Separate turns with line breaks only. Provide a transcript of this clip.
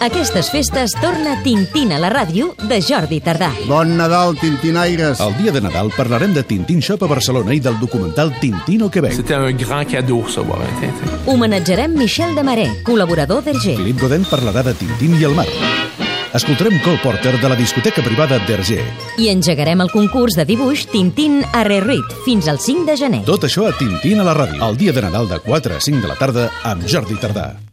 Aquestes festes torna Tintín a la ràdio de Jordi Tardà.
Bon Nadal, Tintinaires!
El dia de Nadal parlarem de Tintin Shop a Barcelona i del documental Tintin al Quebec.
C'était un grand cadeau, ça, voir un Tintin.
Homenatjarem Michel de Maré, col·laborador d'Hergé.
Philippe Godin parlarà de Tintin i el mar. Escoltarem Cole Porter de la discoteca privada d'Hergé.
I engegarem el concurs de dibuix Tintín a Rerit fins al 5 de gener.
Tot això a Tintin a la ràdio. El dia de Nadal de 4 a 5 de la tarda amb Jordi Tardà.